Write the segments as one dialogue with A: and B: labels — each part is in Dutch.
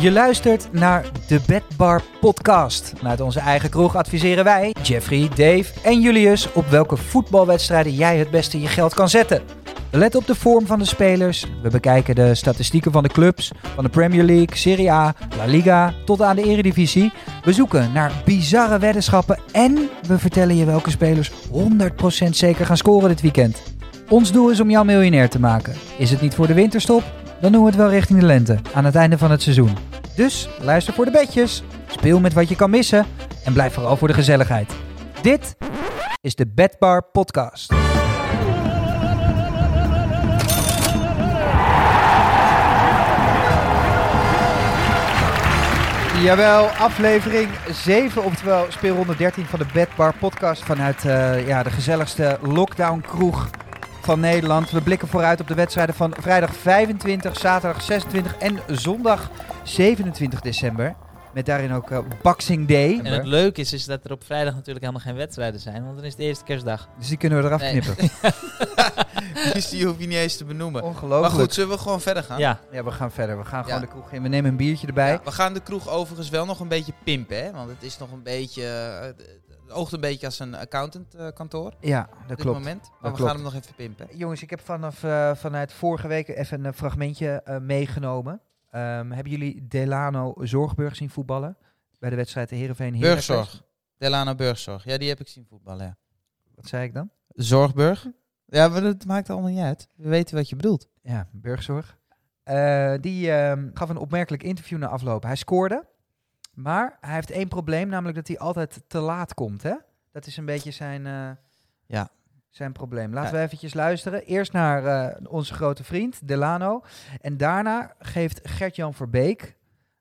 A: Je luistert naar de Bedbar Podcast. Vanuit onze eigen kroeg adviseren wij, Jeffrey, Dave en Julius op welke voetbalwedstrijden jij het beste je geld kan zetten. We letten op de vorm van de spelers. We bekijken de statistieken van de clubs, van de Premier League, Serie A, La Liga tot aan de Eredivisie. We zoeken naar bizarre weddenschappen en we vertellen je welke spelers 100% zeker gaan scoren dit weekend. Ons doel is om jou miljonair te maken. Is het niet voor de winterstop? Dan doen we het wel richting de lente, aan het einde van het seizoen. Dus luister voor de bedjes, speel met wat je kan missen en blijf vooral voor de gezelligheid. Dit is de Bedbar Podcast. Jawel, aflevering 7, oftewel speelronde 13 van de Bedbar podcast vanuit eh, ja, de gezelligste lockdown kroeg van Nederland. We blikken vooruit op de wedstrijden van vrijdag 25, zaterdag 26 en zondag 27 december. Met daarin ook eh, Boxing Day.
B: En het leuke is, is dat er op vrijdag natuurlijk helemaal geen wedstrijden zijn, want dan is het de eerste kerstdag.
A: Dus die kunnen we eraf
B: Nee.
A: knippen.
C: Dus die hoef je niet eens te benoemen. eh, Maar
A: Ongelooflijk.
C: goed, zullen we gewoon verder
A: Ah.
C: gaan?
B: Ja,
A: Ja, we gaan verder. We gaan gewoon
C: Ja.
A: de kroeg in. We nemen een biertje erbij.
C: Ja, We gaan de kroeg overigens wel nog een beetje pimpen, hè? Want het is nog een beetje... eh, Het oogt een beetje als een accountantkantoor op
A: Ja, dat
C: dit
A: klopt.
C: moment. Maar
A: Dat
C: we
A: klopt.
C: gaan hem nog even pimpen.
A: Jongens, ik heb vanaf, eh, vanuit vorige week even een fragmentje eh, meegenomen. Ehm, hebben jullie Delano Zorgburg zien voetballen? Bij de wedstrijd de Heerenveen Heracles?
C: Burgzorg. Delano Burgzorg. Ja, die heb ik zien voetballen, ja.
A: Wat zei ik dan?
C: Zorgburg. Ja, maar dat maakt allemaal niet uit. We weten wat je bedoelt.
A: Ja, Burgzorg. Eh, die ehm, gaf een opmerkelijk interview na afloop. Hij scoorde, maar hij heeft één probleem, namelijk dat hij altijd te laat komt. Hè? Dat is een beetje zijn, eh,
C: Ja.
A: zijn probleem. Laten
C: Ja.
A: we eventjes luisteren. Eerst naar eh, onze grote vriend, Delano. En daarna geeft Gert-Jan Verbeek,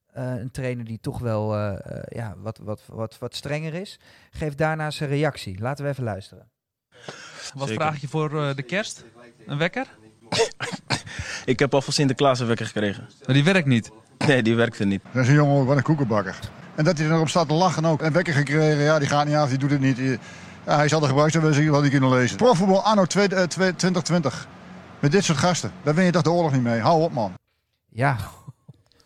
A: eh, een trainer die toch wel eh, eh, ja, wat, wat, wat, wat strenger is, geeft daarna zijn reactie. Laten we even luisteren.
D: Wat
E: Zeker.
D: vraag je voor eh, de kerst? Een wekker?
E: Ik heb al voor Sinterklaas een wekker gekregen.
D: Maar die werkt niet.
E: Nee, die werkte niet.
F: Dat is een jongen, wat een koekenbakker. En dat hij erop staat te lachen ook. En wekker gekregen, ja, die gaat niet af, die doet het niet. Die- Ja, hij zal de gebruiksaanwijzing wel niet kunnen lezen. Profvoetbal anno 2- eh, 2- 2020. Met dit soort gasten. Daar win je toch de oorlog niet mee. Hou op, man.
A: Ja,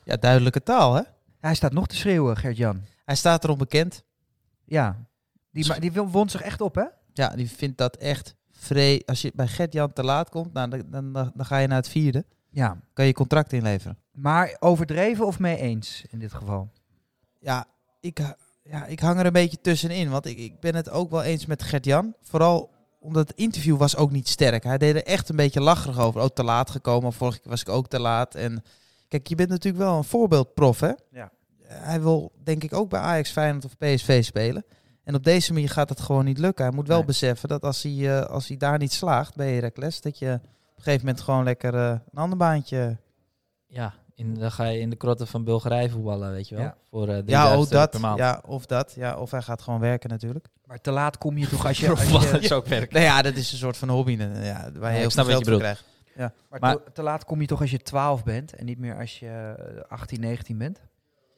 C: Ja, duidelijke taal, hè?
A: hij staat nog te schreeuwen, Gert-Jan.
C: Hij staat erop bekend.
A: Ja.
C: Dus-
A: Die, ma- die won- wond zich echt op, hè?
C: Ja, die vindt dat echt vrij. Als je bij Gert-Jan te laat komt, nou, dan, dan, dan ga je naar het vierde.
A: Ja.
C: Kan je contract inleveren.
A: Maar overdreven of mee eens in dit geval?
C: ja, ik, ha- ja, ik hang er een beetje tussenin. Want ik, ik ben het ook wel eens met Gert-Jan. Vooral omdat het interview was ook niet sterk. Hij deed er echt een beetje lacherig over. Ook te laat gekomen. Vorige keer was ik ook te laat. En kijk, je bent natuurlijk wel een voorbeeldprof, hè?
A: Ja.
C: Hij wil denk ik ook bij Ajax, Feyenoord of PSV spelen. En op deze manier gaat dat gewoon niet lukken. Hij moet wel
A: Nee.
C: beseffen dat als hij, eh, als hij daar niet slaagt bij Heracles... dat je op een gegeven moment gewoon lekker eh, een ander baantje...
B: ja. In, dan ga je in de krotten van Bulgarije voetballen, weet je wel.
A: Ja.
B: Voor eh
C: Ja,
B: 3000
C: of
B: euro
C: dat.
B: per maand.
C: Ja, of dat. Ja, of hij gaat gewoon werken natuurlijk.
A: Maar te laat kom je toch als je...
B: Voor
A: als je-
B: voetballen is ook werk.
C: Nou ja, dat is een soort van hobby. eh, Ja, waar je
B: ik
C: heel
B: snap
C: veel
B: wat je
C: geld
B: bedoelt.
C: voor krijgt.
A: maar te-
B: Maar-
A: te laat kom je toch als je 12 bent en niet meer als je eh, 18, 19 bent?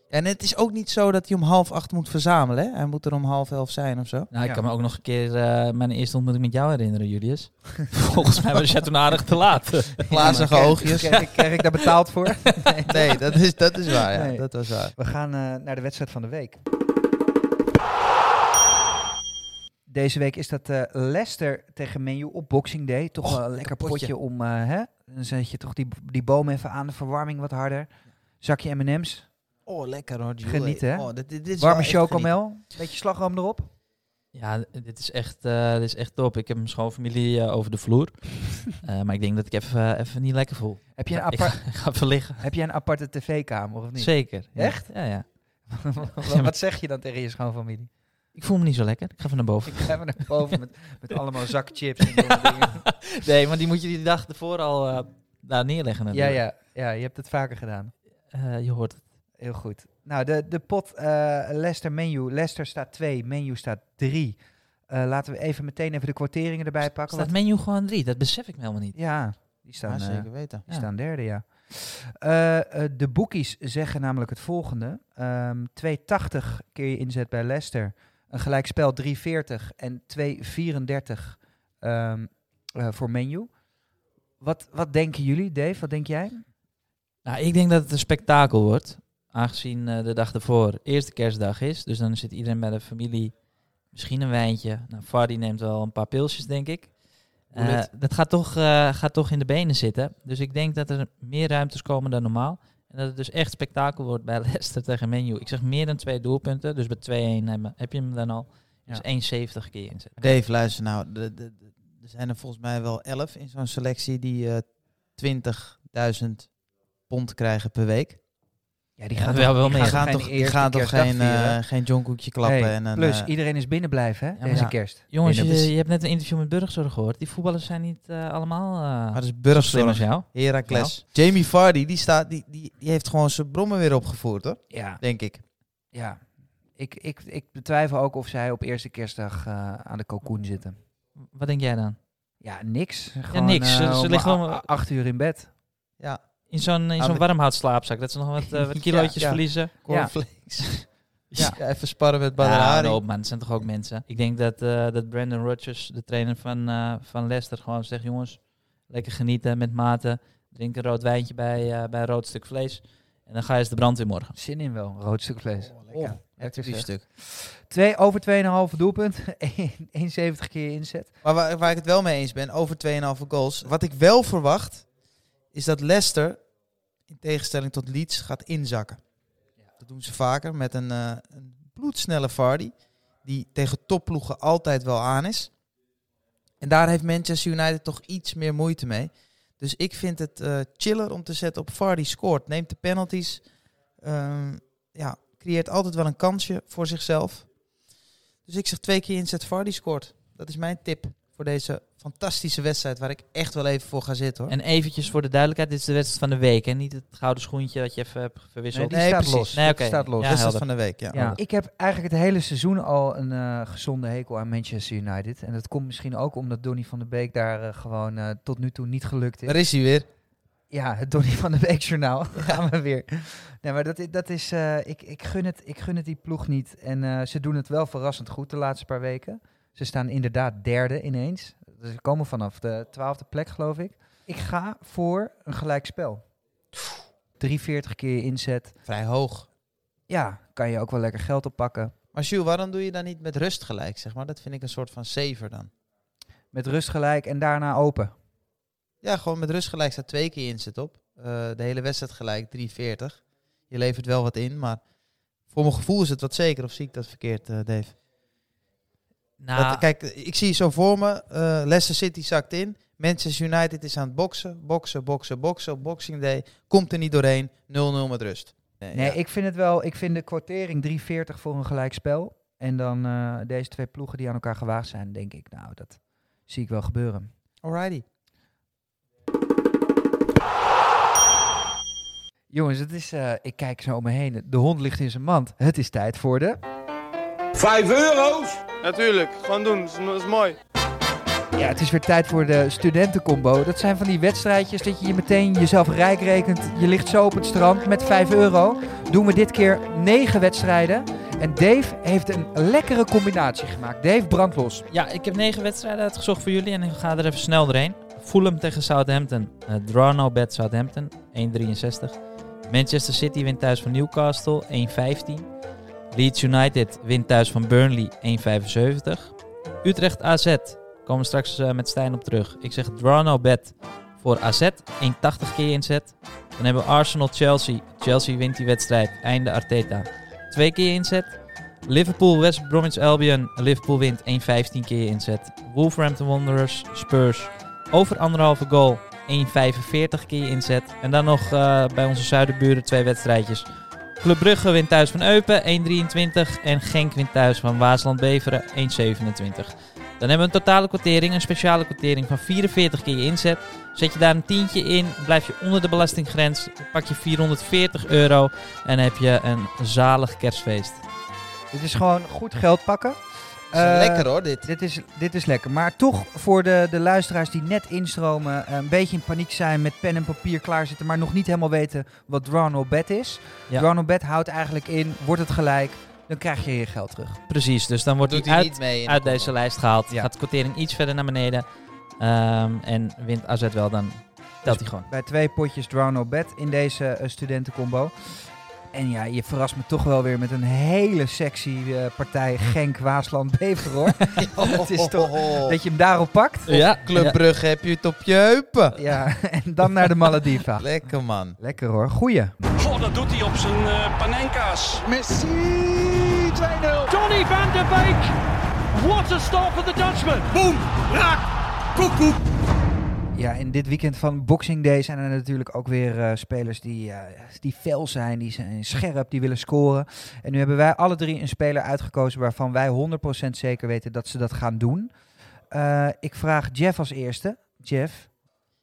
C: En het is ook niet zo dat hij om half acht moet verzamelen. Hè? Hij moet er om half elf zijn of zo.
B: Nou, ik
A: Ja.
B: kan me ook nog een keer eh, mijn eerste ontmoeting met jou herinneren, Julius. Volgens mij was jij toen aardig te laat.
C: Glazige
A: Krijg-
C: oogjes.
A: Krijg, ik- krijg ik daar betaald voor?
C: Nee, dat is, dat is waar. Ja.
A: Nee.
C: Dat was waar.
A: We gaan eh, naar de wedstrijd van de week. Deze week is dat eh, Leicester tegen Menu op Boxing Day. Toch wel een lekker potje,
C: potje.
A: om... eh, hè? Dan zet je toch die, die boom even aan, de verwarming wat harder. Zakje M&M's,
C: Oh, lekker hoor. Jules.
A: Genieten, hè?
C: Oh, dit, dit is wel
A: warme
C: echt
A: chocomel, beetje slagroom erop.
B: Ja, dit is, echt, eh, dit is echt top. Ik heb mijn schoonfamilie eh, over de vloer. Eh, maar ik denk dat ik even, eh, even niet lekker voel.
A: Heb je een,
B: ik,
A: apart,
B: ga, ik ga even liggen.
A: heb je een aparte tv-kamer of niet?
B: Zeker. Ja.
A: Echt?
B: Ja, ja.
A: wat, wat zeg je dan tegen je schoonfamilie?
B: Ik voel me niet zo lekker. Ik ga even naar boven.
A: Ik ga even naar boven met, met allemaal zak chips en dat soort dingen.
B: Nee, maar die moet je die dag ervoor al eh, daar neerleggen.
A: Ja,
B: natuurlijk.
A: ja, ja, je hebt het vaker gedaan.
B: Eh, je hoort het.
A: Heel goed. Nou, de, de pot eh Leicester Menu. Leicester staat 2, Menu staat 3. laten we even meteen even de kwarteringen erbij pakken.
B: Staat
A: want-
B: menu gewoon drie? Dat besef ik me helemaal niet.
A: ja, die
C: genieten.
A: staan,
C: Ja,
A: eh,
C: zeker weten.
A: die
B: Ja.
A: staan derde, ja. Eh, eh, de boekies zeggen namelijk het volgende. Ehm 2,80 keer je inzet bij Leicester. Een gelijkspel 3,40 en 2,34 ehm, eh, voor menu. Wat, wat denken jullie, Dave? Wat denk jij?
B: Nou, ik denk dat het een spektakel wordt. Aangezien eh, de dag daarvoor eerste kerstdag is. Dus dan zit iedereen bij de familie. Misschien een wijntje. Nou, Fardy neemt wel een paar pilsjes, denk ik.
C: Hoe net.
B: Eh, dat gaat toch, eh, gaat toch in de benen zitten. Dus ik denk dat er meer ruimtes komen dan normaal. En dat het dus echt spektakel wordt bij Leicester tegen Menu. Ik zeg meer dan twee doelpunten. Dus bij 2-1 heb- heb je hem dan al.
C: Ja.
B: Dus 1,70 keer inzetten.
C: Dave, luister nou. de- de- de- er zijn er volgens mij wel elf in zo'n selectie die eh 20.000 pond krijgen per week.
A: Ja, die
B: Ja,
A: gaan
B: wel- wel
C: Die
B: meer.
C: gaan toch, die gaan toch geen, eh geen jonkhoekje klappen. en een,
A: plus,
C: eh,
A: iedereen is binnen blijven, hè,
B: maar
A: deze
B: ja.
A: kerst.
B: Jongens,
A: Binnen.
B: je, je hebt net een interview met Burgzorg gehoord. Die voetballers zijn niet eh, allemaal eh
C: maar dat is
B: slim als
C: burgzorg.
B: jou.
C: Heracles. Nou. Jamie Vardy, die, staat, die, die, die heeft gewoon zijn brommen weer opgevoerd, hoor.
A: Ja,
C: Denk ik.
A: ja. Ik, ik, ik betwijfel ook of zij op eerste kerstdag eh, aan de cocoon zitten.
B: Wat denk jij dan?
A: Ja, niks. Gewoon,
B: niks. Ze-
A: eh,
B: ze
A: om
B: liggen
A: a-
B: gewoon-
A: a- acht uur in bed.
C: Ja,
B: In zo'n in
C: Aan
B: zo'n
C: de-
B: warmhoutslaapzak. Dat ze nog wat, eh, wat
C: Ja,
B: kilootjes
C: ja.
B: verliezen.
C: cornflakes. Ja.
A: Ja. nou,
C: even sparren met Oh,
B: Ja,
C: Badr
B: hou op, man. Het zijn toch ook mensen. Ik denk dat, eh, dat Brandon Rodgers, de trainer van, eh, van Leicester, gewoon zegt... Jongens, lekker genieten met mate. Drink een rood wijntje bij, eh, bij een rood stuk vlees. En dan ga je eens de brand weer morgen.
A: Zin in wel, een rood stuk vlees.
C: lekker.
A: lekker
C: Die
A: zeg.
C: stuk.
A: Twee, over 2,5 doelpunt. 71 keer inzet.
C: Maar waar, waar ik het wel mee eens ben, over 2,5 goals. Wat ik wel verwacht, is dat Leicester, in tegenstelling tot Leeds, gaat inzakken. Dat doen ze vaker met een, eh, een bloedsnelle Vardy, die tegen topploegen altijd wel aan is. En daar heeft Manchester United toch iets meer moeite mee. Dus ik vind het eh, chiller om te zetten op Vardy scoort. Neemt de penalties. ehm, ja, creëert altijd wel een kansje voor zichzelf. Dus ik zeg twee keer inzet Vardy scoort. Dat is mijn tip voor deze fantastische wedstrijd waar ik echt wel even voor ga zitten hoor.
B: En eventjes voor de duidelijkheid, dit is de wedstrijd van de week. En niet het gouden schoentje dat je even hebt verwisseld.
A: die
C: Nee,
A: staat
C: precies.
A: los.
B: Nee,
A: Die
B: oké.
A: staat los.
B: Ja,
C: wedstrijd
B: helder.
C: van de week, ja.
A: Ja, ik heb eigenlijk het hele seizoen al een eh, gezonde hekel aan Manchester United. En dat komt misschien ook omdat Donny van der Beek daar eh, gewoon eh, tot nu toe niet gelukt is.
C: Daar is hij weer.
A: Ja, het Donny van der Beek journaal. Gaan we weer. Nee, maar dat, i- dat is... eh, ik, ik, gun het, ik gun het die ploeg niet. En eh, ze doen het wel verrassend goed de laatste paar weken. Ze staan inderdaad derde ineens. Dus Ze komen vanaf de twaalfde plek, geloof ik. Ik ga voor een gelijkspel. 43 keer inzet.
C: Vrij hoog.
A: Ja, kan je ook wel lekker geld oppakken.
C: Maar Jules, waarom doe je dan niet met rust gelijk, zeg maar? Dat vind ik een soort van saver dan.
A: Met rust gelijk en daarna open.
C: Ja, gewoon met rust gelijk staat twee keer inzet op. Eh, de hele wedstrijd gelijk, 340. Je levert wel wat in, maar voor mijn gevoel is het wat zeker. Of zie ik dat verkeerd, eh, Dave?
B: Nou,
C: Dat- kijk, ik zie zo voor me. eh Leicester City zakt in. Manchester United is aan het boksen, boksen, boksen, boksen. Op Boxing Day komt er niet doorheen. 0-0 met rust.
A: Nee,
C: ja.
A: ik vind het wel. Ik vind de kwartering 3,40 voor een gelijkspel. En dan eh, deze twee ploegen die aan elkaar gewaagd zijn, denk ik. Nou, dat zie ik wel gebeuren.
C: Alrighty.
A: Jongens, het is, eh, ik kijk zo om me heen. De hond ligt in zijn mand. Het is tijd voor de.
G: Vijf euro's?
H: Natuurlijk, gewoon doen, dat is, dat is mooi.
A: Ja, het is weer tijd voor de studentencombo. Dat zijn van die wedstrijdjes dat je je meteen jezelf rijk rekent. Je ligt zo op het strand met 5 euro. Doen we dit keer 9 wedstrijden. En Dave heeft een lekkere combinatie gemaakt. Dave, brand los.
B: Ja, ik heb negen wedstrijden uitgezocht voor jullie en ik ga er even snel doorheen. Fulham tegen Southampton. Eh draw no bet Southampton, 1,63. Manchester City wint thuis van Newcastle, 1,15. Leeds United wint thuis van Burnley, 1,75. Utrecht AZ, komen we straks eh, met Stijn op terug. Ik zeg draw no bet voor AZ, 1,80 keer inzet. Dan hebben we Arsenal-Chelsea. Chelsea wint die wedstrijd, einde Arteta. Twee keer inzet. Liverpool, West Bromwich Albion. Liverpool wint 1-15 keer inzet. Wolverhampton Wanderers, Spurs. Over anderhalve goal, 1-45 keer inzet. En dan nog eh, bij onze zuiderburen twee wedstrijdjes. Club Brugge wint thuis van Eupen, 1-23. En Genk wint thuis van Waasland-Beveren, 1-27. Dan hebben we een totale kwartering, een speciale kwartering van 44 keer inzet. Zet je daar een tientje in, blijf je onder de belastinggrens, pak je 440 euro en heb je een zalig kerstfeest.
A: Dit is gewoon goed geld pakken.
C: Dat is
A: Eh,
C: lekker hoor, dit.
A: Dit is, dit is lekker. Maar toch voor de, de luisteraars die net instromen, eh, een beetje in paniek zijn, met pen en papier klaarzitten, maar nog niet helemaal weten wat draw no bet is.
B: Ja.
A: Draw no bet houdt eigenlijk in, wordt het gelijk, dan krijg je je geld terug.
B: Precies, dus dan wordt
C: Doet
B: hij
C: hij
B: uit,
C: niet mee. in de
B: uit
C: combo.
B: deze lijst gehaald.
A: Ja.
B: Gaat de quotering iets verder naar beneden. Ehm, en wint AZ wel, dan telt hij gewoon.
A: Bij twee potjes draw no bet in deze eh, studentencombo. En ja, je verrast me toch wel weer met een hele sexy eh, partij Genk, Waasland, Beveren hoor. Het is toch-
C: Oh,
A: Dat je hem daarop pakt.
B: Ja,
C: Club Brugge heb je het op je heupen.
A: Ja, en dan naar de Malediva.
C: Lekker man.
A: Lekker hoor, goeie.
I: Goh, dat doet hij op zijn eh, panenka's.
J: Messi 2-0. Johnny van der Beek. What a start for the Dutchman. Boom, raak, koek, koek.
A: Ja, en dit weekend van Boxing Day zijn er natuurlijk ook weer eh, spelers die, eh, die fel zijn, die zijn scherp, die willen scoren. En nu hebben wij alle drie een speler uitgekozen waarvan wij 100% zeker weten dat ze dat gaan doen. Eh, ik vraag Jeff als eerste. Jeff,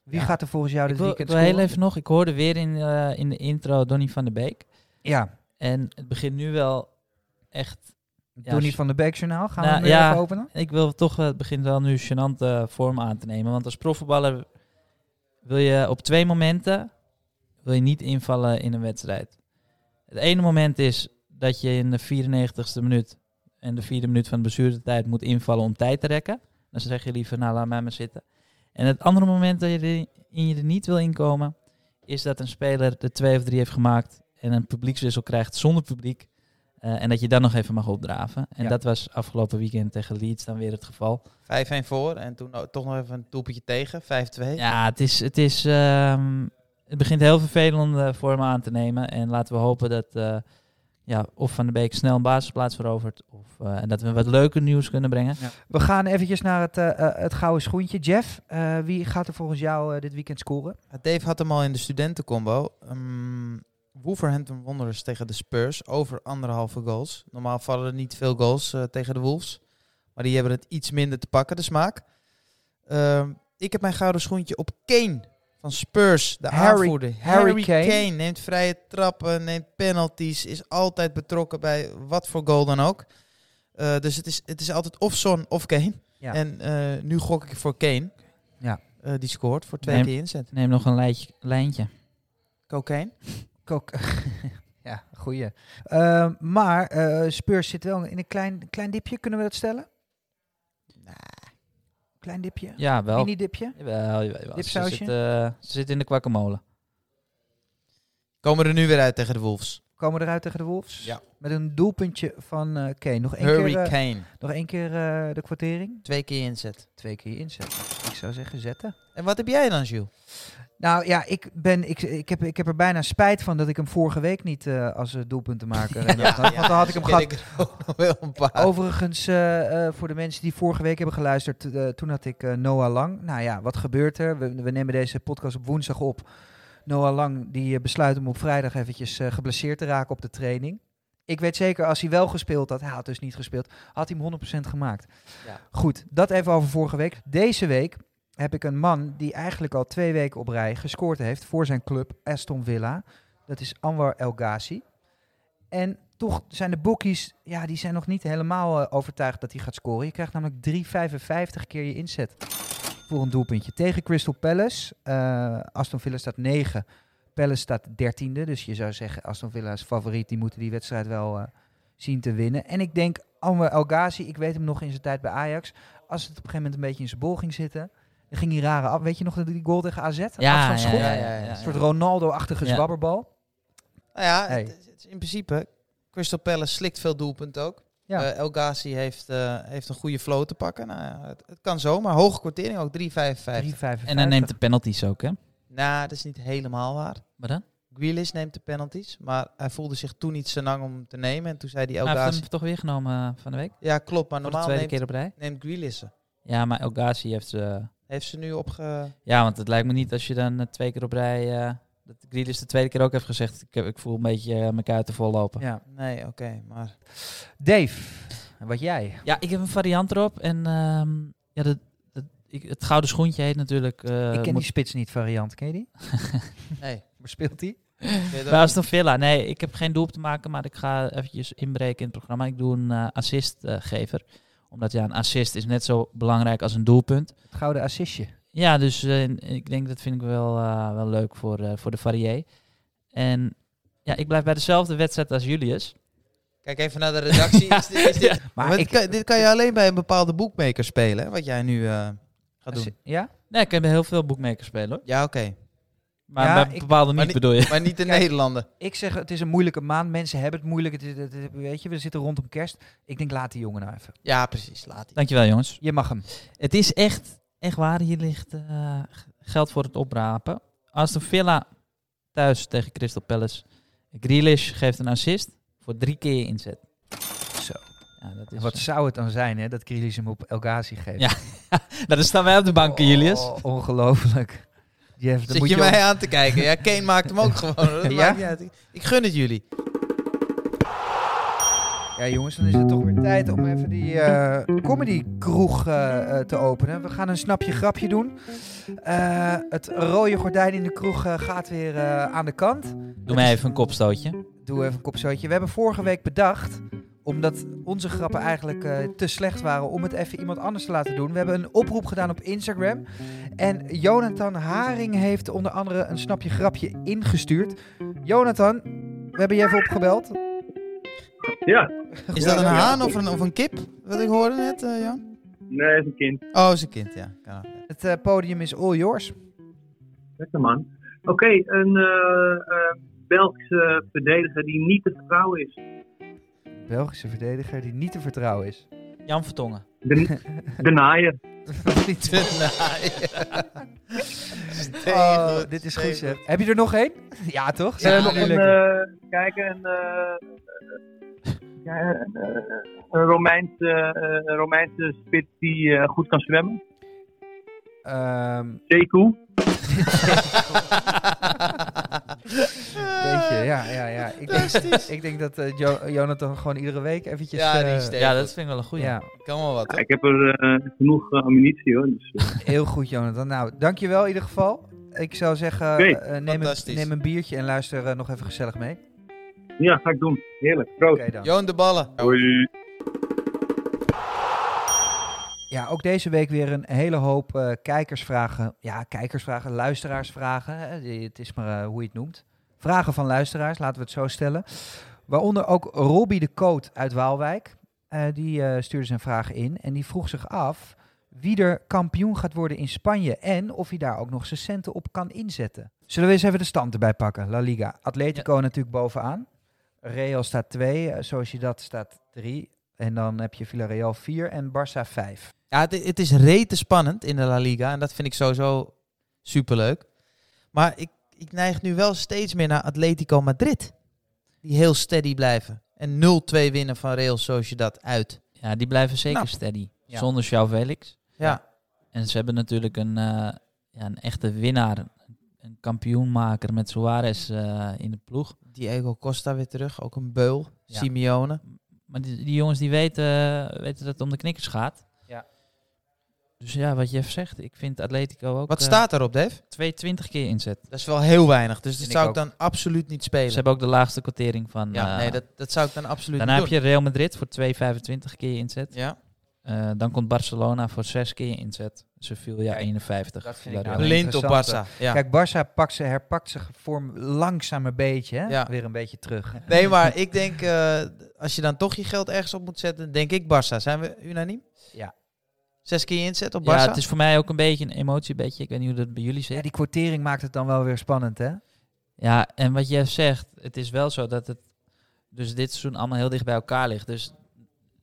A: wie
B: Ja.
A: gaat er volgens jou
B: Ik
A: dit
B: wil, ik
A: weekend
B: wil
A: scoren?
B: heel even nog, ik hoorde weer in, eh, in de intro Donny van der Beek.
A: Ja,
B: En het begint nu wel echt... Ja,
A: Donny
B: s-
A: van de Beek Journaal. Gaan
B: Nou,
A: we hem weer
B: ja.
A: even openen?
B: Ik wil toch, eh, het begint wel nu gênante vorm aan te nemen. Want als profvoetballer wil je op twee momenten wil je niet invallen in een wedstrijd. Het ene moment is dat je in de 94ste minuut en de vierde minuut van de blessuretijd moet invallen om tijd te rekken. Dan zeg je liever, nou laat mij maar zitten. En het andere moment dat je er, in je er niet wil inkomen, is dat een speler de twee of drie heeft gemaakt en een publiekswissel krijgt zonder publiek. Eh, en dat je dan nog even mag opdraven. En
A: Ja.
B: dat was afgelopen weekend tegen Leeds dan weer het geval.
C: 5-1 voor en toen ook toch nog even een doelpuntje tegen. 5-2.
B: Ja, het, is, het, is, ehm, het begint heel vervelende vormen aan te nemen. En laten we hopen dat eh, ja, of Van de Beek snel een basisplaats verovert. Of, eh, en dat we wat leuker nieuws kunnen brengen.
A: We gaan eventjes naar het, eh, eh, het gouden schoentje. Jeff, eh, wie gaat er volgens jou eh, dit weekend scoren?
C: Dave had hem al in de studentencombo. Ehm, Wolverhampton Wanderers tegen de Spurs over anderhalve goals. Normaal vallen er niet veel goals eh, tegen de Wolves. Maar die hebben het iets minder te pakken, de smaak. Ehm, ik heb mijn gouden schoentje op Kane van Spurs, de
A: Harry-
C: aanvoerder.
A: Harry Kane.
C: neemt vrije trappen, neemt penalties, is altijd betrokken bij wat voor goal dan ook. Eh, dus het is, het is altijd of Son of Kane.
A: Ja.
C: En eh, nu gok ik voor Kane.
A: Ja.
C: Eh, die scoort voor twee
B: Nee.
C: keer inzet.
B: Neem nog een lijntje. lijntje.
C: Cocaine?
A: Kok. ja, goeie. Eh, maar eh, Spurs zit wel in een klein, klein dipje, kunnen we dat stellen? Klein dipje?
B: Ja, wel.
A: Mini-dipje?
B: Jawel, jawel, jawel. Ze
A: Dipsausje?
B: zit, eh, ze zit in de kwakkemolen.
C: Komen er nu weer uit tegen de Wolves.
A: Komen we eruit tegen de Wolves?
C: Ja.
A: Met een doelpuntje van eh Kane. Nog één keer, eh,
C: Hurricane.
A: nog één keer eh, de kwartering.
C: Twee keer inzet.
A: Twee keer inzetten. Ik zou zeggen zetten.
C: En wat heb jij dan, Jules?
A: Nou ja, ik, ben, ik, ik, heb, ik heb er bijna spijt van dat ik hem vorige week niet eh, als eh, doelpuntenmaker heb Oh. gehad. Want dan had ik hem gehad.
C: Ik er ook nog wel een paar.
A: Overigens, eh, eh, voor de mensen die vorige week hebben geluisterd, eh, toen had ik eh, Noah Lang. Nou ja, wat gebeurt er? We, we nemen deze podcast op woensdag op. Noah Lang die eh, besluit om op vrijdag eventjes eh, geblesseerd te raken op de training. Ik weet zeker, als hij wel gespeeld had, hij had dus niet gespeeld, had hij hem 100% gemaakt.
C: Ja.
A: Goed, dat even over vorige week. Deze week heb ik een man die eigenlijk al twee weken op rij gescoord heeft voor zijn club Aston Villa. Dat is Anwar El Ghazi. En toch zijn de bookies, ja, die zijn nog niet helemaal eh, overtuigd dat hij gaat scoren. Je krijgt namelijk 3,55 keer je inzet voor een doelpuntje. Tegen Crystal Palace, eh, Aston Villa staat 9, Palace staat 13e. Dus je zou zeggen, Aston Villa is favoriet, die moeten die wedstrijd wel eh, zien te winnen. En ik denk, Anwar El Ghazi, ik weet hem nog in zijn tijd bij Ajax. Als het op een gegeven moment een beetje in zijn bol ging zitten, dan ging hij rare af. Weet je nog dat die goal tegen AZ? Afstandsschot?
C: ja, ja.
A: Een soort Ronaldo-achtige
B: Ja.
A: zwabberbal.
C: Nou ja,
A: Hey.
C: het, is- het is in principe... Crystal Palace slikt veel doelpunten ook.
A: Ja.
C: Eh, El Ghazi heeft, eh, heeft een goede flow te pakken. Nou, ja, het, het kan zomaar. Hoge kwartering ook, 3,55.
A: 3,55.
B: En hij neemt de penalties ook, hè?
C: Nou, dat is niet helemaal waar.
B: Maar dan?
C: Grealish neemt de penalties, maar hij voelde zich toen niet zo lang om hem te nemen. En toen zei hij El
A: Nou,
B: Hij heeft
C: Ghazi...
B: hem toch weer genomen eh, van de week.
C: Ja, klopt, maar
B: Voor de
C: normaal
B: tweede
C: neemt,
B: keer op rij.
C: neemt Grealish ze.
B: Ja, maar El Ghazi heeft eh, ze...
C: Heeft ze nu opge...
B: Ja, want het lijkt me niet als je dan eh, twee keer op rij... eh, dat Grealish de tweede keer ook heeft gezegd... Ik, heb- ik voel een beetje eh, mijn kuiten vollopen. Ja.
A: Ja.
C: Nee, oké, maar...
A: Dave, wat jij?
B: ik heb een variant erop. En ehm, ja, dat, dat, ik, het gouden schoentje heet natuurlijk... eh,
A: ik ken
B: moet-
A: die spits niet variant, ken je die?
C: Nee.
A: Waar speelt hij?
B: Bij Aston Villa. Nee, ik heb geen doel op te maken, maar ik ga eventjes inbreken in het programma. Ik doe een eh, assistgever. omdat ja, een assist is net zo belangrijk als een doelpunt.
A: Het gouden assistje.
B: Ja, dus eh, ik denk dat vind ik wel, eh, wel leuk voor, eh, voor de varier. En ja, ik blijf bij dezelfde wedstrijd als Julius.
C: Kijk even naar de redactie. Is dit, is dit-
B: Ja.
A: Maar
C: Want
A: ik-
C: dit, kan, dit kan je alleen bij een bepaalde boekmaker spelen, hè, wat jij nu eh, gaat doen.
A: Ja?
B: Nee, ik heb heel veel boekmakers spelen hoor.
C: Ja, oké.
B: Maar
A: Ja,
B: bij
A: ik-
B: bepaalde niet,
C: niet-
B: bedoel je.
C: Maar niet de
A: Kijk,
C: Nederlanden.
A: Ik zeg, het is een moeilijke maand. Mensen hebben het moeilijk. Het, is- het- het- weet je, we zitten rondom kerst. Ik denk, laat die jongen nou even.
C: Ja, precies. Laat die.
B: Dankjewel jongens.
A: Je mag hem.
B: Het is echt, echt waar, hier ligt eh, g- geld voor het oprapen. Aston Villa thuis tegen Crystal Palace. Grealish geeft een assist voor drie keer inzet.
A: Zo.
B: Ja, dat,
A: En
B: is, eh,
A: Wat zou het dan zijn, hè? Dat Grealish hem op El Ghazi geeft.
B: Ja, Nou, dan staan wij op de bank, Julius.
A: Oh, ongelooflijk. Jeff, dan
C: Zit
A: moet
C: je
A: je
C: mij aan te kijken? Ja, Kane maakt hem ook gewoon. Dat
A: Ja?
C: maakt niet uit. Ik- Ik gun het jullie.
A: Ja, jongens, dan is het toch weer tijd om even die eh, comedy-kroeg eh, eh, te openen. We gaan een snapje-grapje doen. Eh, het rode gordijn in de kroeg eh, gaat weer eh, aan de kant.
B: Doe mij even een kopstootje.
A: Doe even een kopstootje. We hebben vorige week bedacht, omdat onze grappen eigenlijk eh, te slecht waren, om het even iemand anders te laten doen. We hebben een oproep gedaan op Instagram. En Jonathan Haring heeft onder andere een snapje-grapje ingestuurd. Jonathan, we hebben je even opgebeld.
C: Is dat een haan of een, of een kip? Wat ik hoorde net, eh, Jan?
K: Nee, is een kind.
C: Oh, is een kind, ja. Kan wel.
A: Het eh, podium is all yours.
K: Lekker man. Oké, een eh, eh, Belgische verdediger die niet te vertrouwen is.
A: Belgische verdediger die niet te vertrouwen is.
B: Jan Vertongen.
K: De, de naaier.
A: Niet-
C: Steengoed,
A: Oh, dit is goed
C: steengoed.
A: zeg. Heb je er nog één? Ja toch? Zeg
K: Eh,
A: maar
K: nog
A: nu
K: een,
A: lekker.
K: eh, kijk, een, eh, ja, een, eh, een Romeinse, eh, een Romeinse spit die eh, goed kan zwemmen.
A: Ehm,
K: Zeku.
A: weet je, ja, ja, ja. Ik denk,
C: Fantastisch.
A: ik denk dat eh, Jo- Jonathan gewoon iedere week eventjes...
C: Ja, die
A: eh,
C: is stevig.
B: Ja, dat vind ik wel een goeie.
A: ja,
C: Kan wel wat,
K: Ja,
C: hè?
K: ik heb er eh, genoeg eh, ammunitie hoor. Dus, eh,
A: heel goed Jonathan. Nou, dankjewel in ieder geval. Ik zou zeggen,
K: Oké,
A: eh, neem, een,
C: fantastisch.
A: neem een biertje en luister eh, nog even gezellig mee. Oké
K: ja, ga ik doen. Heerlijk. Proost.
A: dan.
C: Joon de ballen.
K: Hoi.
A: Ja, ook deze week weer een hele hoop eh, kijkersvragen. Ja, kijkersvragen, luisteraarsvragen. Hè? Die- Het is maar eh, hoe je het noemt. Vragen van luisteraars, laten we het zo stellen. Waaronder ook Robbie de Koot uit Waalwijk. Eh, die eh, stuurde zijn vraag in en die vroeg zich af wie er kampioen gaat worden in Spanje en of hij daar ook nog zijn centen op kan inzetten. Zullen we eens even de stand erbij pakken? La Liga. Atletico natuurlijk bovenaan. Real staat 2, Sociedad staat 3. En dan heb je Villarreal 4 en Barça 5.
C: Ja, het, het is rete spannend in de La Liga. En dat vind ik sowieso superleuk. Maar ik, ik neig nu wel steeds meer naar Atletico Madrid. Die heel steady blijven. En 0-2 winnen van Real Sociedad uit.
B: Ja, die blijven zeker
C: Nou.
B: steady.
C: Ja.
B: Zonder Sjouw Felix.
C: Ja.
B: En ze hebben natuurlijk een, eh, ja, een echte winnaar. Een kampioenmaker met Suarez eh, in de ploeg.
C: Diego Costa weer terug. Ook een beul.
B: Ja.
C: Simeone.
B: Maar die, die jongens die weten, weten dat het om de knikkers gaat.
A: Ja.
B: Dus ja, wat Jeff zegt, ik vind Atletico ook...
C: Wat
B: eh,
C: staat daarop, Dave?
B: 220 keer inzet.
C: Dat is wel heel weinig. Dus dat
A: Vind ik
C: zou ik dan absoluut niet
B: Ze
C: spelen.
B: hebben ook de laagste kwartering van...
C: Ja,
B: eh,
C: nee, dat, dat zou ik dan absoluut
B: daarna heb
C: niet doen.
B: je Real Madrid voor 225 keer inzet.
C: Ja.
B: Eh, dan komt Barcelona voor 6 keer inzet. Sevilla 51.
A: dat vind ik
B: Villarreal.
A: nou-
C: Blind op
A: Interessante.
C: Barça. Ja.
A: Kijk, Barça pakt ze, herpakt zijn vorm langzaam een beetje. Hè?
C: Ja.
A: Weer een beetje terug.
C: Nee, maar ik denk, eh, als je dan toch je geld ergens op moet zetten, denk ik Barça. Zijn we unaniem?
A: Ja.
C: Zes keer inzet op Barça?
B: Ja, het is voor mij ook een beetje een emotie. een Beetje. Ik weet niet hoe dat bij jullie zit.
A: Ja, die kwartering maakt het dan wel weer spannend, hè?
B: Ja, en wat jij zegt, het is wel zo dat het dus dit seizoen allemaal heel dicht bij elkaar ligt. Dus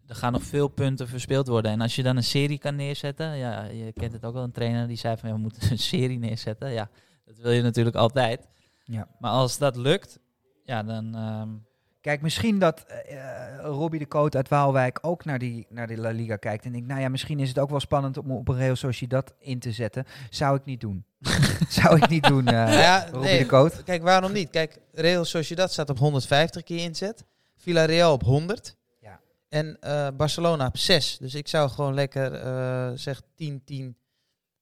B: er gaan nog veel punten verspeeld worden. En als je dan een serie kan neerzetten, ja, je kent het ook wel, een trainer die zei van ja, we moeten een serie neerzetten. Ja, dat wil je natuurlijk altijd.
A: Ja.
B: Maar als dat lukt, ja, dan ehm,
A: Kijk, misschien dat eh Robbie de Koot uit Waalwijk ook naar die, naar die La Liga kijkt. En denkt, nou ja, misschien is het ook wel spannend om op een Real Sociedad in te zetten. Zou ik niet doen. Zou ik niet doen, eh
C: Nou ja,
A: Robbie
C: nee.
A: de Koot.
C: Kijk, waarom niet? Kijk, Real Sociedad staat op 150 keer inzet. Villarreal op 100.
A: Ja.
C: En eh, Barcelona op 6. Dus ik zou gewoon lekker, eh, zeg, 10, 10,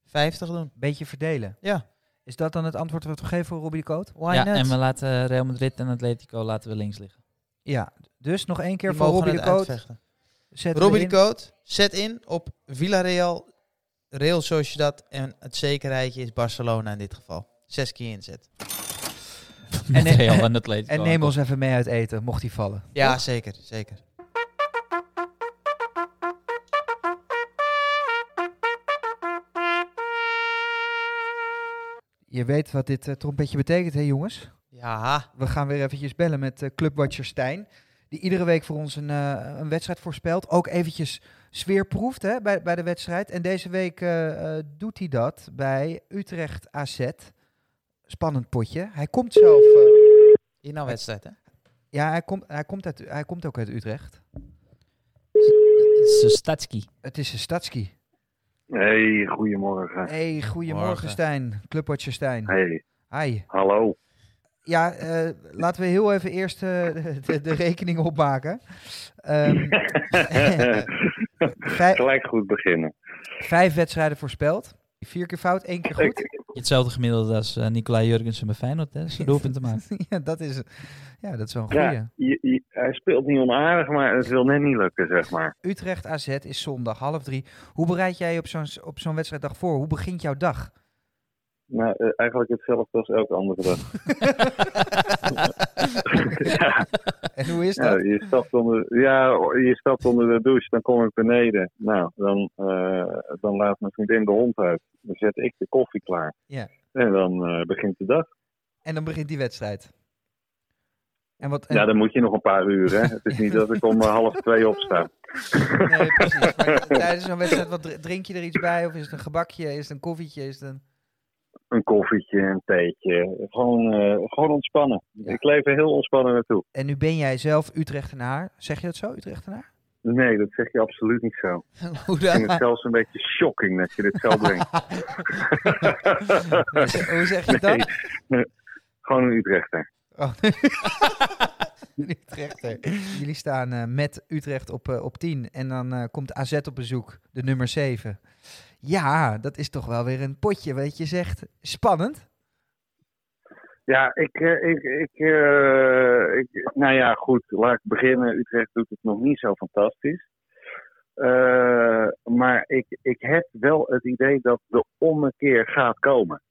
C: 50 doen.
A: Beetje verdelen.
C: Ja,
A: Is dat dan het antwoord wat we geven voor Robbie de Koot?
C: why
B: ja,
C: not?
B: en we laten Real Madrid en Atletico laten we links liggen.
A: Ja. Dus nog één
C: Die
A: keer voor
C: mogen
A: Robbie de
C: het
A: Koot.
C: uitvechten.
A: Zet
C: Robbie de
A: erin.
C: Koot, zet in op Villarreal, Real Sociedad. En het zekerheidje is Barcelona in dit geval. Zes keer inzet.
B: En
A: neem-
B: Real en Atletico.
A: En neem ons even mee uit eten, mocht hij vallen.
C: Ja, zeker, zeker.
A: Je weet wat dit eh, trompetje betekent, hè jongens?
C: Ja.
A: We gaan weer eventjes bellen met eh, Clubwatcher Stijn. Die iedere week voor ons een, eh, een wedstrijd voorspelt. Ook eventjes sfeerproeft hè, bij, bij de wedstrijd. En deze week eh, eh, doet hij dat bij Utrecht AZ. Spannend potje. Hij komt zelf... eh,
C: In nou wedstrijd, hè?
A: ja, hij komt, hij, komt uit, hij komt ook uit Utrecht.
B: Sustatski.
A: Het is een Stadski.
L: Hey, goedemorgen.
A: Hey, goedemorgen
L: Morgen.
A: Stijn. Clubwatcher Stijn.
L: Hey,
A: Hi.
L: hallo.
A: Ja, eh, laten we heel even eerst eh, de, de rekening opmaken. Ehm, vijf,
L: Gelijk goed beginnen.
A: vijf wedstrijden voorspeld. Vier keer fout, één keer goed.
B: Hetzelfde gemiddelde als eh, Nicola Jurgensen bij Feyenoord, hè? Zijn doelpunten maken.
A: ja, dat is, ja, dat is wel een goeie.
L: Ja, je- je- hij speelt niet onaardig, maar het wil net niet lukken, zeg maar.
A: Utrecht AZ is zondag, half drie. Hoe bereid jij je op zo'n, op zo'n wedstrijddag voor? Hoe begint jouw dag?
L: Nou, eh, eigenlijk hetzelfde als elke andere dag. ja.
A: En hoe is
L: Ja,
A: dat?
L: je stapt onder, ja, je stapt onder de douche, dan kom ik beneden. Nou, dan, eh, dan laat mijn vriendin de hond uit. Dan zet ik de koffie klaar.
A: Ja.
L: En dan eh, begint de dag.
A: En dan begint die wedstrijd. En wat, en-
L: Ja, dan moet je nog een paar uur, hè. Het is niet dat ik om eh, half twee opsta.
A: Nee, precies. Maar tijdens zo'n wedstrijd, wat dr- drink je er iets bij? Of is het een gebakje? Is het een koffietje? Is het een...
L: Een koffietje, een theetje. Gewoon, eh, gewoon ontspannen. Ik leef er heel ontspannen naartoe.
A: En nu ben jij zelf Utrechtenaar. Zeg je dat zo, Utrechtenaar?
L: Nee, dat zeg je absoluut niet zo.
A: Hoe
L: Ik vind het zelfs een beetje shocking dat je dit zo brengt.
A: Hoe zeg je dat?
L: Nee, Gewoon een Utrechter.
A: Oh. Utrechter. Jullie staan eh, met Utrecht op, eh, op 10 en dan eh, komt AZ op bezoek, de nummer 7. Ja, dat is toch wel weer een potje, weet je zegt. Spannend.
L: Ja, ik, eh, ik, ik, eh, ik. Nou ja, goed. Laat ik beginnen. Utrecht doet het nog niet zo fantastisch. Eh, maar ik, ik heb wel het idee dat de ommekeer gaat komen.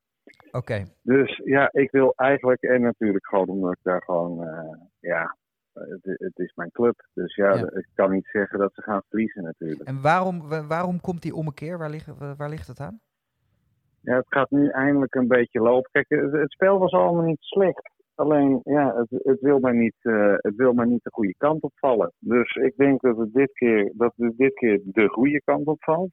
A: Oké,
L: Dus ja, ik wil eigenlijk, en natuurlijk gewoon omdat ik daar gewoon, eh, ja, het, het is mijn club. Dus ja,
A: Ja.
L: ik kan niet zeggen dat ze gaan verliezen natuurlijk.
A: en waarom, wa- waarom komt die ommekeer? Waar, lig, wa- waar ligt het aan?
L: Ja, het gaat nu eindelijk een beetje lopen. Kijk, het, het spel was allemaal niet slecht. Alleen, ja, het, het, wil maar niet, eh, het wil maar niet de goede kant opvallen. Dus ik denk dat het dit keer, dat het dit keer de goede kant opvalt.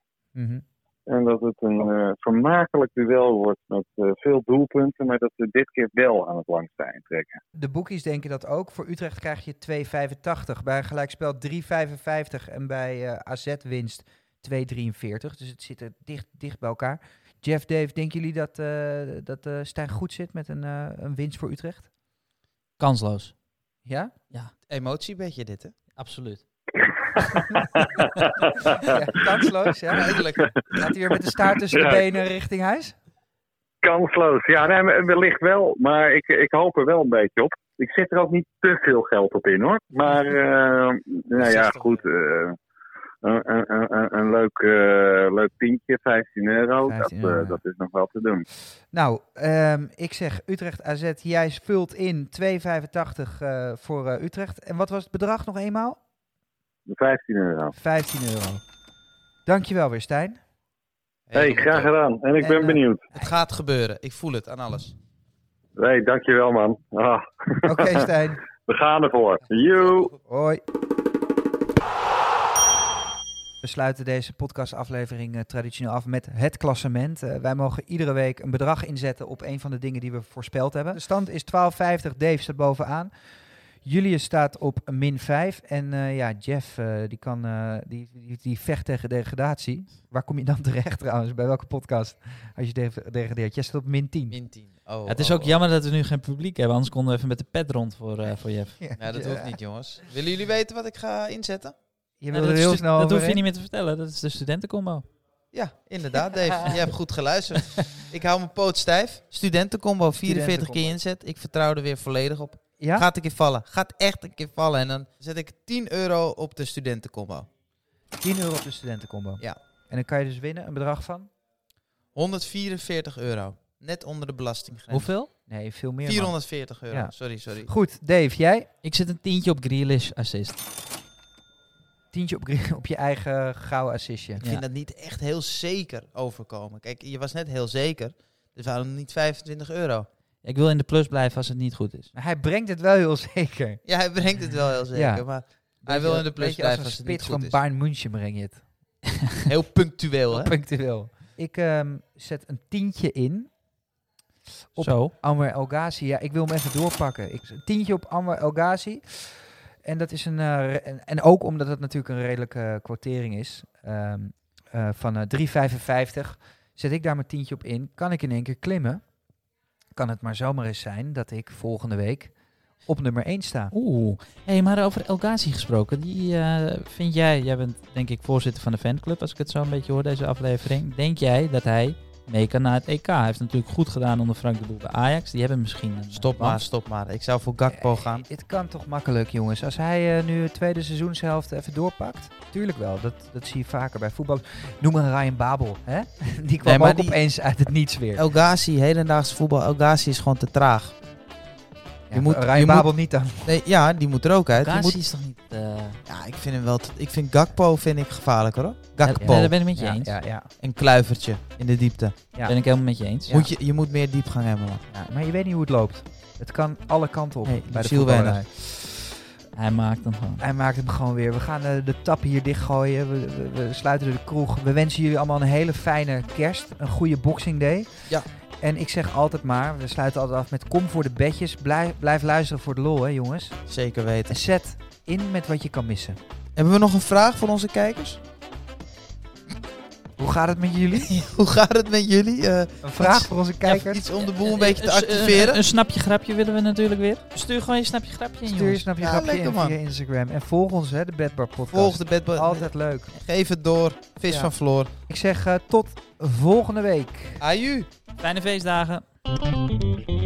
L: En dat het een eh, vermakelijk duel wordt met eh, veel doelpunten, maar dat we dit keer wel aan het langste eind trekken.
A: De boekies denken dat ook. Voor Utrecht krijg je 2,85. Bij een gelijkspel 3,55. En bij eh, AZ winst 2,43. Dus het zit er dicht, dicht bij elkaar. Jeff, Dave, denken jullie dat, eh, dat eh, Stijn goed zit met een, eh, een winst voor Utrecht?
B: Kansloos.
A: Ja?
B: Ja,
C: Emotie een beetje dit, hè?
B: absoluut.
A: ja kansloos, ja. Eindelijk. Gaat hij weer met de staart tussen de
L: Ja.
A: benen richting huis?
L: Kansloos. Ja, nee, maar wellicht wel. Maar ik, ik hoop er wel een beetje op. Ik zet er ook niet te veel geld op in hoor. Maar eh, nou ja, goed. eh, een, een, een, een leuk, eh, leuk tientje, 15 euro.
A: 15
L: dat, eh,
A: euro.
L: dat is nog wel te doen.
A: Nou, ehm, ik zeg Utrecht AZ. Jij vult in 2,85 eh, voor eh, Utrecht. En wat was het bedrag nog eenmaal?
L: 15 euro.
A: 15 euro. Dankjewel weer, Stijn.
L: hey, graag gedaan. En ik
A: En,
L: ben
A: eh,
L: benieuwd.
C: Het gaat gebeuren. Ik voel het aan alles.
L: Hé, hey, dankjewel man. Ah.
A: Oké, Stijn.
L: We gaan ervoor. You.
A: Hoi. We sluiten deze podcastaflevering eh, traditioneel af met het klassement. Eh, wij mogen iedere week een bedrag inzetten op een van de dingen die we voorspeld hebben. De stand is 12,50. Dave staat bovenaan. Julius staat op min 5. En eh, ja, Jeff eh, die, kan, eh, die, die, die vecht tegen degradatie. Waar kom je dan terecht trouwens? Bij welke podcast? Als je de- degradeert. Jij staat op min 10.
C: Min 10. Oh,
B: Ja, het is
C: oh,
B: ook
C: oh.
B: jammer dat we nu geen publiek hebben, anders konden we even met de pet rond voor, eh, voor Jeff.
A: Ja,
C: Nou, dat hoeft niet, jongens. Willen jullie weten wat ik ga inzetten?
A: Je
B: Ja,
A: wil er
B: Nou, dat
A: heel
B: stu-
A: snel
B: dat hoef je
A: overheen.
B: niet meer te vertellen, dat is de studentencombo.
C: Ja, inderdaad, Dave. Je hebt goed geluisterd. Ik hou mijn poot stijf. Studentencombo, 44 keer
A: Studentencombo.
C: inzet. Ik vertrouw er weer volledig op.
A: Ja?
C: Gaat een keer vallen. Gaat echt een keer vallen. En dan zet ik 10 euro op de studentencombo.
A: 10 euro op de studentencombo.
C: Ja.
A: En dan kan je dus winnen een bedrag van?
C: 144 euro. Net onder de belastinggrens.
B: Hoeveel?
A: Nee, veel meer. man.
C: 440 euro.
A: Ja.
C: Sorry, sorry.
A: Goed, Dave, jij?
B: Ik zet een tientje op Grealish assist.
A: Tientje op, gri- op je eigen gouden assistje.
C: Ik vind dat niet echt heel zeker overkomen. Kijk, je was net heel zeker. Dus waarom niet 25 euro?
B: Ik wil in de plus blijven als het niet goed is.
A: Maar hij brengt het wel heel zeker.
C: Ja, hij brengt het wel heel zeker,
A: Ja.
C: maar hij wil in de plus
A: Beetje als
C: blijven
A: een
C: als het niet
A: spits
C: goed
A: van
C: is.
A: Bayern München breng je het.
C: Heel punctueel, hè?
A: Punctueel. Ik ehm, zet een tientje in. Op
B: Zo.
A: Anwar El Ghazi. Ja, ik wil hem even doorpakken. Ik, een tientje op Anwar El Ghazi. En dat is een. eh, re- en, en ook omdat het natuurlijk een redelijke eh, kwartering is. ehm, eh, van eh 3,55. Zet ik daar mijn tientje op in. Kan ik in één keer klimmen? Kan het maar zomaar eens zijn dat ik volgende week op nummer 1 sta.
B: Oeh. Hé, hey, maar over El Ghazi gesproken. Die eh, vind jij, jij bent denk ik voorzitter van de fanclub, als ik het zo een beetje hoor, deze aflevering. Denk jij dat hij mee kan naar het EK? Hij heeft natuurlijk goed gedaan onder Frank de Boer bij Ajax. Die hebben misschien... een-
C: Stop maar, stop maar. Ik zou voor Gakpo gaan.
A: Dit kan toch makkelijk, jongens. Als hij eh, nu het tweede seizoenshelft even doorpakt. Tuurlijk wel, dat, dat zie je vaker bij voetbal. Noem maar Ryan Babel, hè? Die kwam
C: Nee, maar
A: ook
C: die- Oh,
A: opeens uit het niets weer.
C: El Ghazi, hedendaags voetbal, El Ghazi is gewoon te traag.
A: Ja, Ryan Babel niet dan.
C: Nee, ja, die moet er ook uit. Die
B: Ghazi
C: moet-
B: is toch niet... eh,
C: Ja, ik vind hem wel. te- Ik vind Gakpo vind ik gevaarlijker hoor.
B: Ja,
C: Gakpo.
B: daar ben ik met je
A: Ja,
B: eens.
A: ja, ja.
C: Een kluivertje in de diepte.
A: ja.
B: Ben ik helemaal met je eens.
A: Ja.
C: Moet je, je moet meer diepgang hebben man.
A: Ja, maar je weet niet hoe het loopt. Het kan alle kanten op
C: Nee,
A: bij de
C: ziel
A: voetballerij.
B: Hij maakt hem gewoon.
A: Hij maakt hem gewoon weer. We gaan eh, de tap hier dichtgooien. We, we, we sluiten de kroeg. We wensen jullie allemaal een hele fijne kerst. Een goede Boxing Day.
C: Ja.
A: En ik zeg altijd maar, we sluiten altijd af met kom voor de bedjes. Blijf, blijf luisteren voor de lol, hè jongens.
C: Zeker weten.
A: En zet in met wat je kan missen.
C: Hebben we nog een vraag voor onze kijkers?
A: Hoe gaat het met jullie?
C: Hoe gaat het met jullie? Eh,
A: Een vraag
C: iets-
A: voor onze
C: ja,
A: kijkers.
C: Iets om de boel een beetje te
B: Een- Eh, Een,
C: activeren.
B: een snapje grapje willen we natuurlijk weer. Stuur gewoon je snapje grapje in,
A: Stuur je
B: jongens.
A: snapje
C: Ja,
A: grapje
C: lekker,
A: in
C: man.
A: via Instagram. En volg ons, hè, de Bedbar Podcast.
C: Volg de bedbal.
A: Altijd leuk.
C: Geef het door. Vis
A: Ja.
C: van Floor.
A: Ik zeg eh, tot volgende week.
C: Aju.
B: Fijne feestdagen.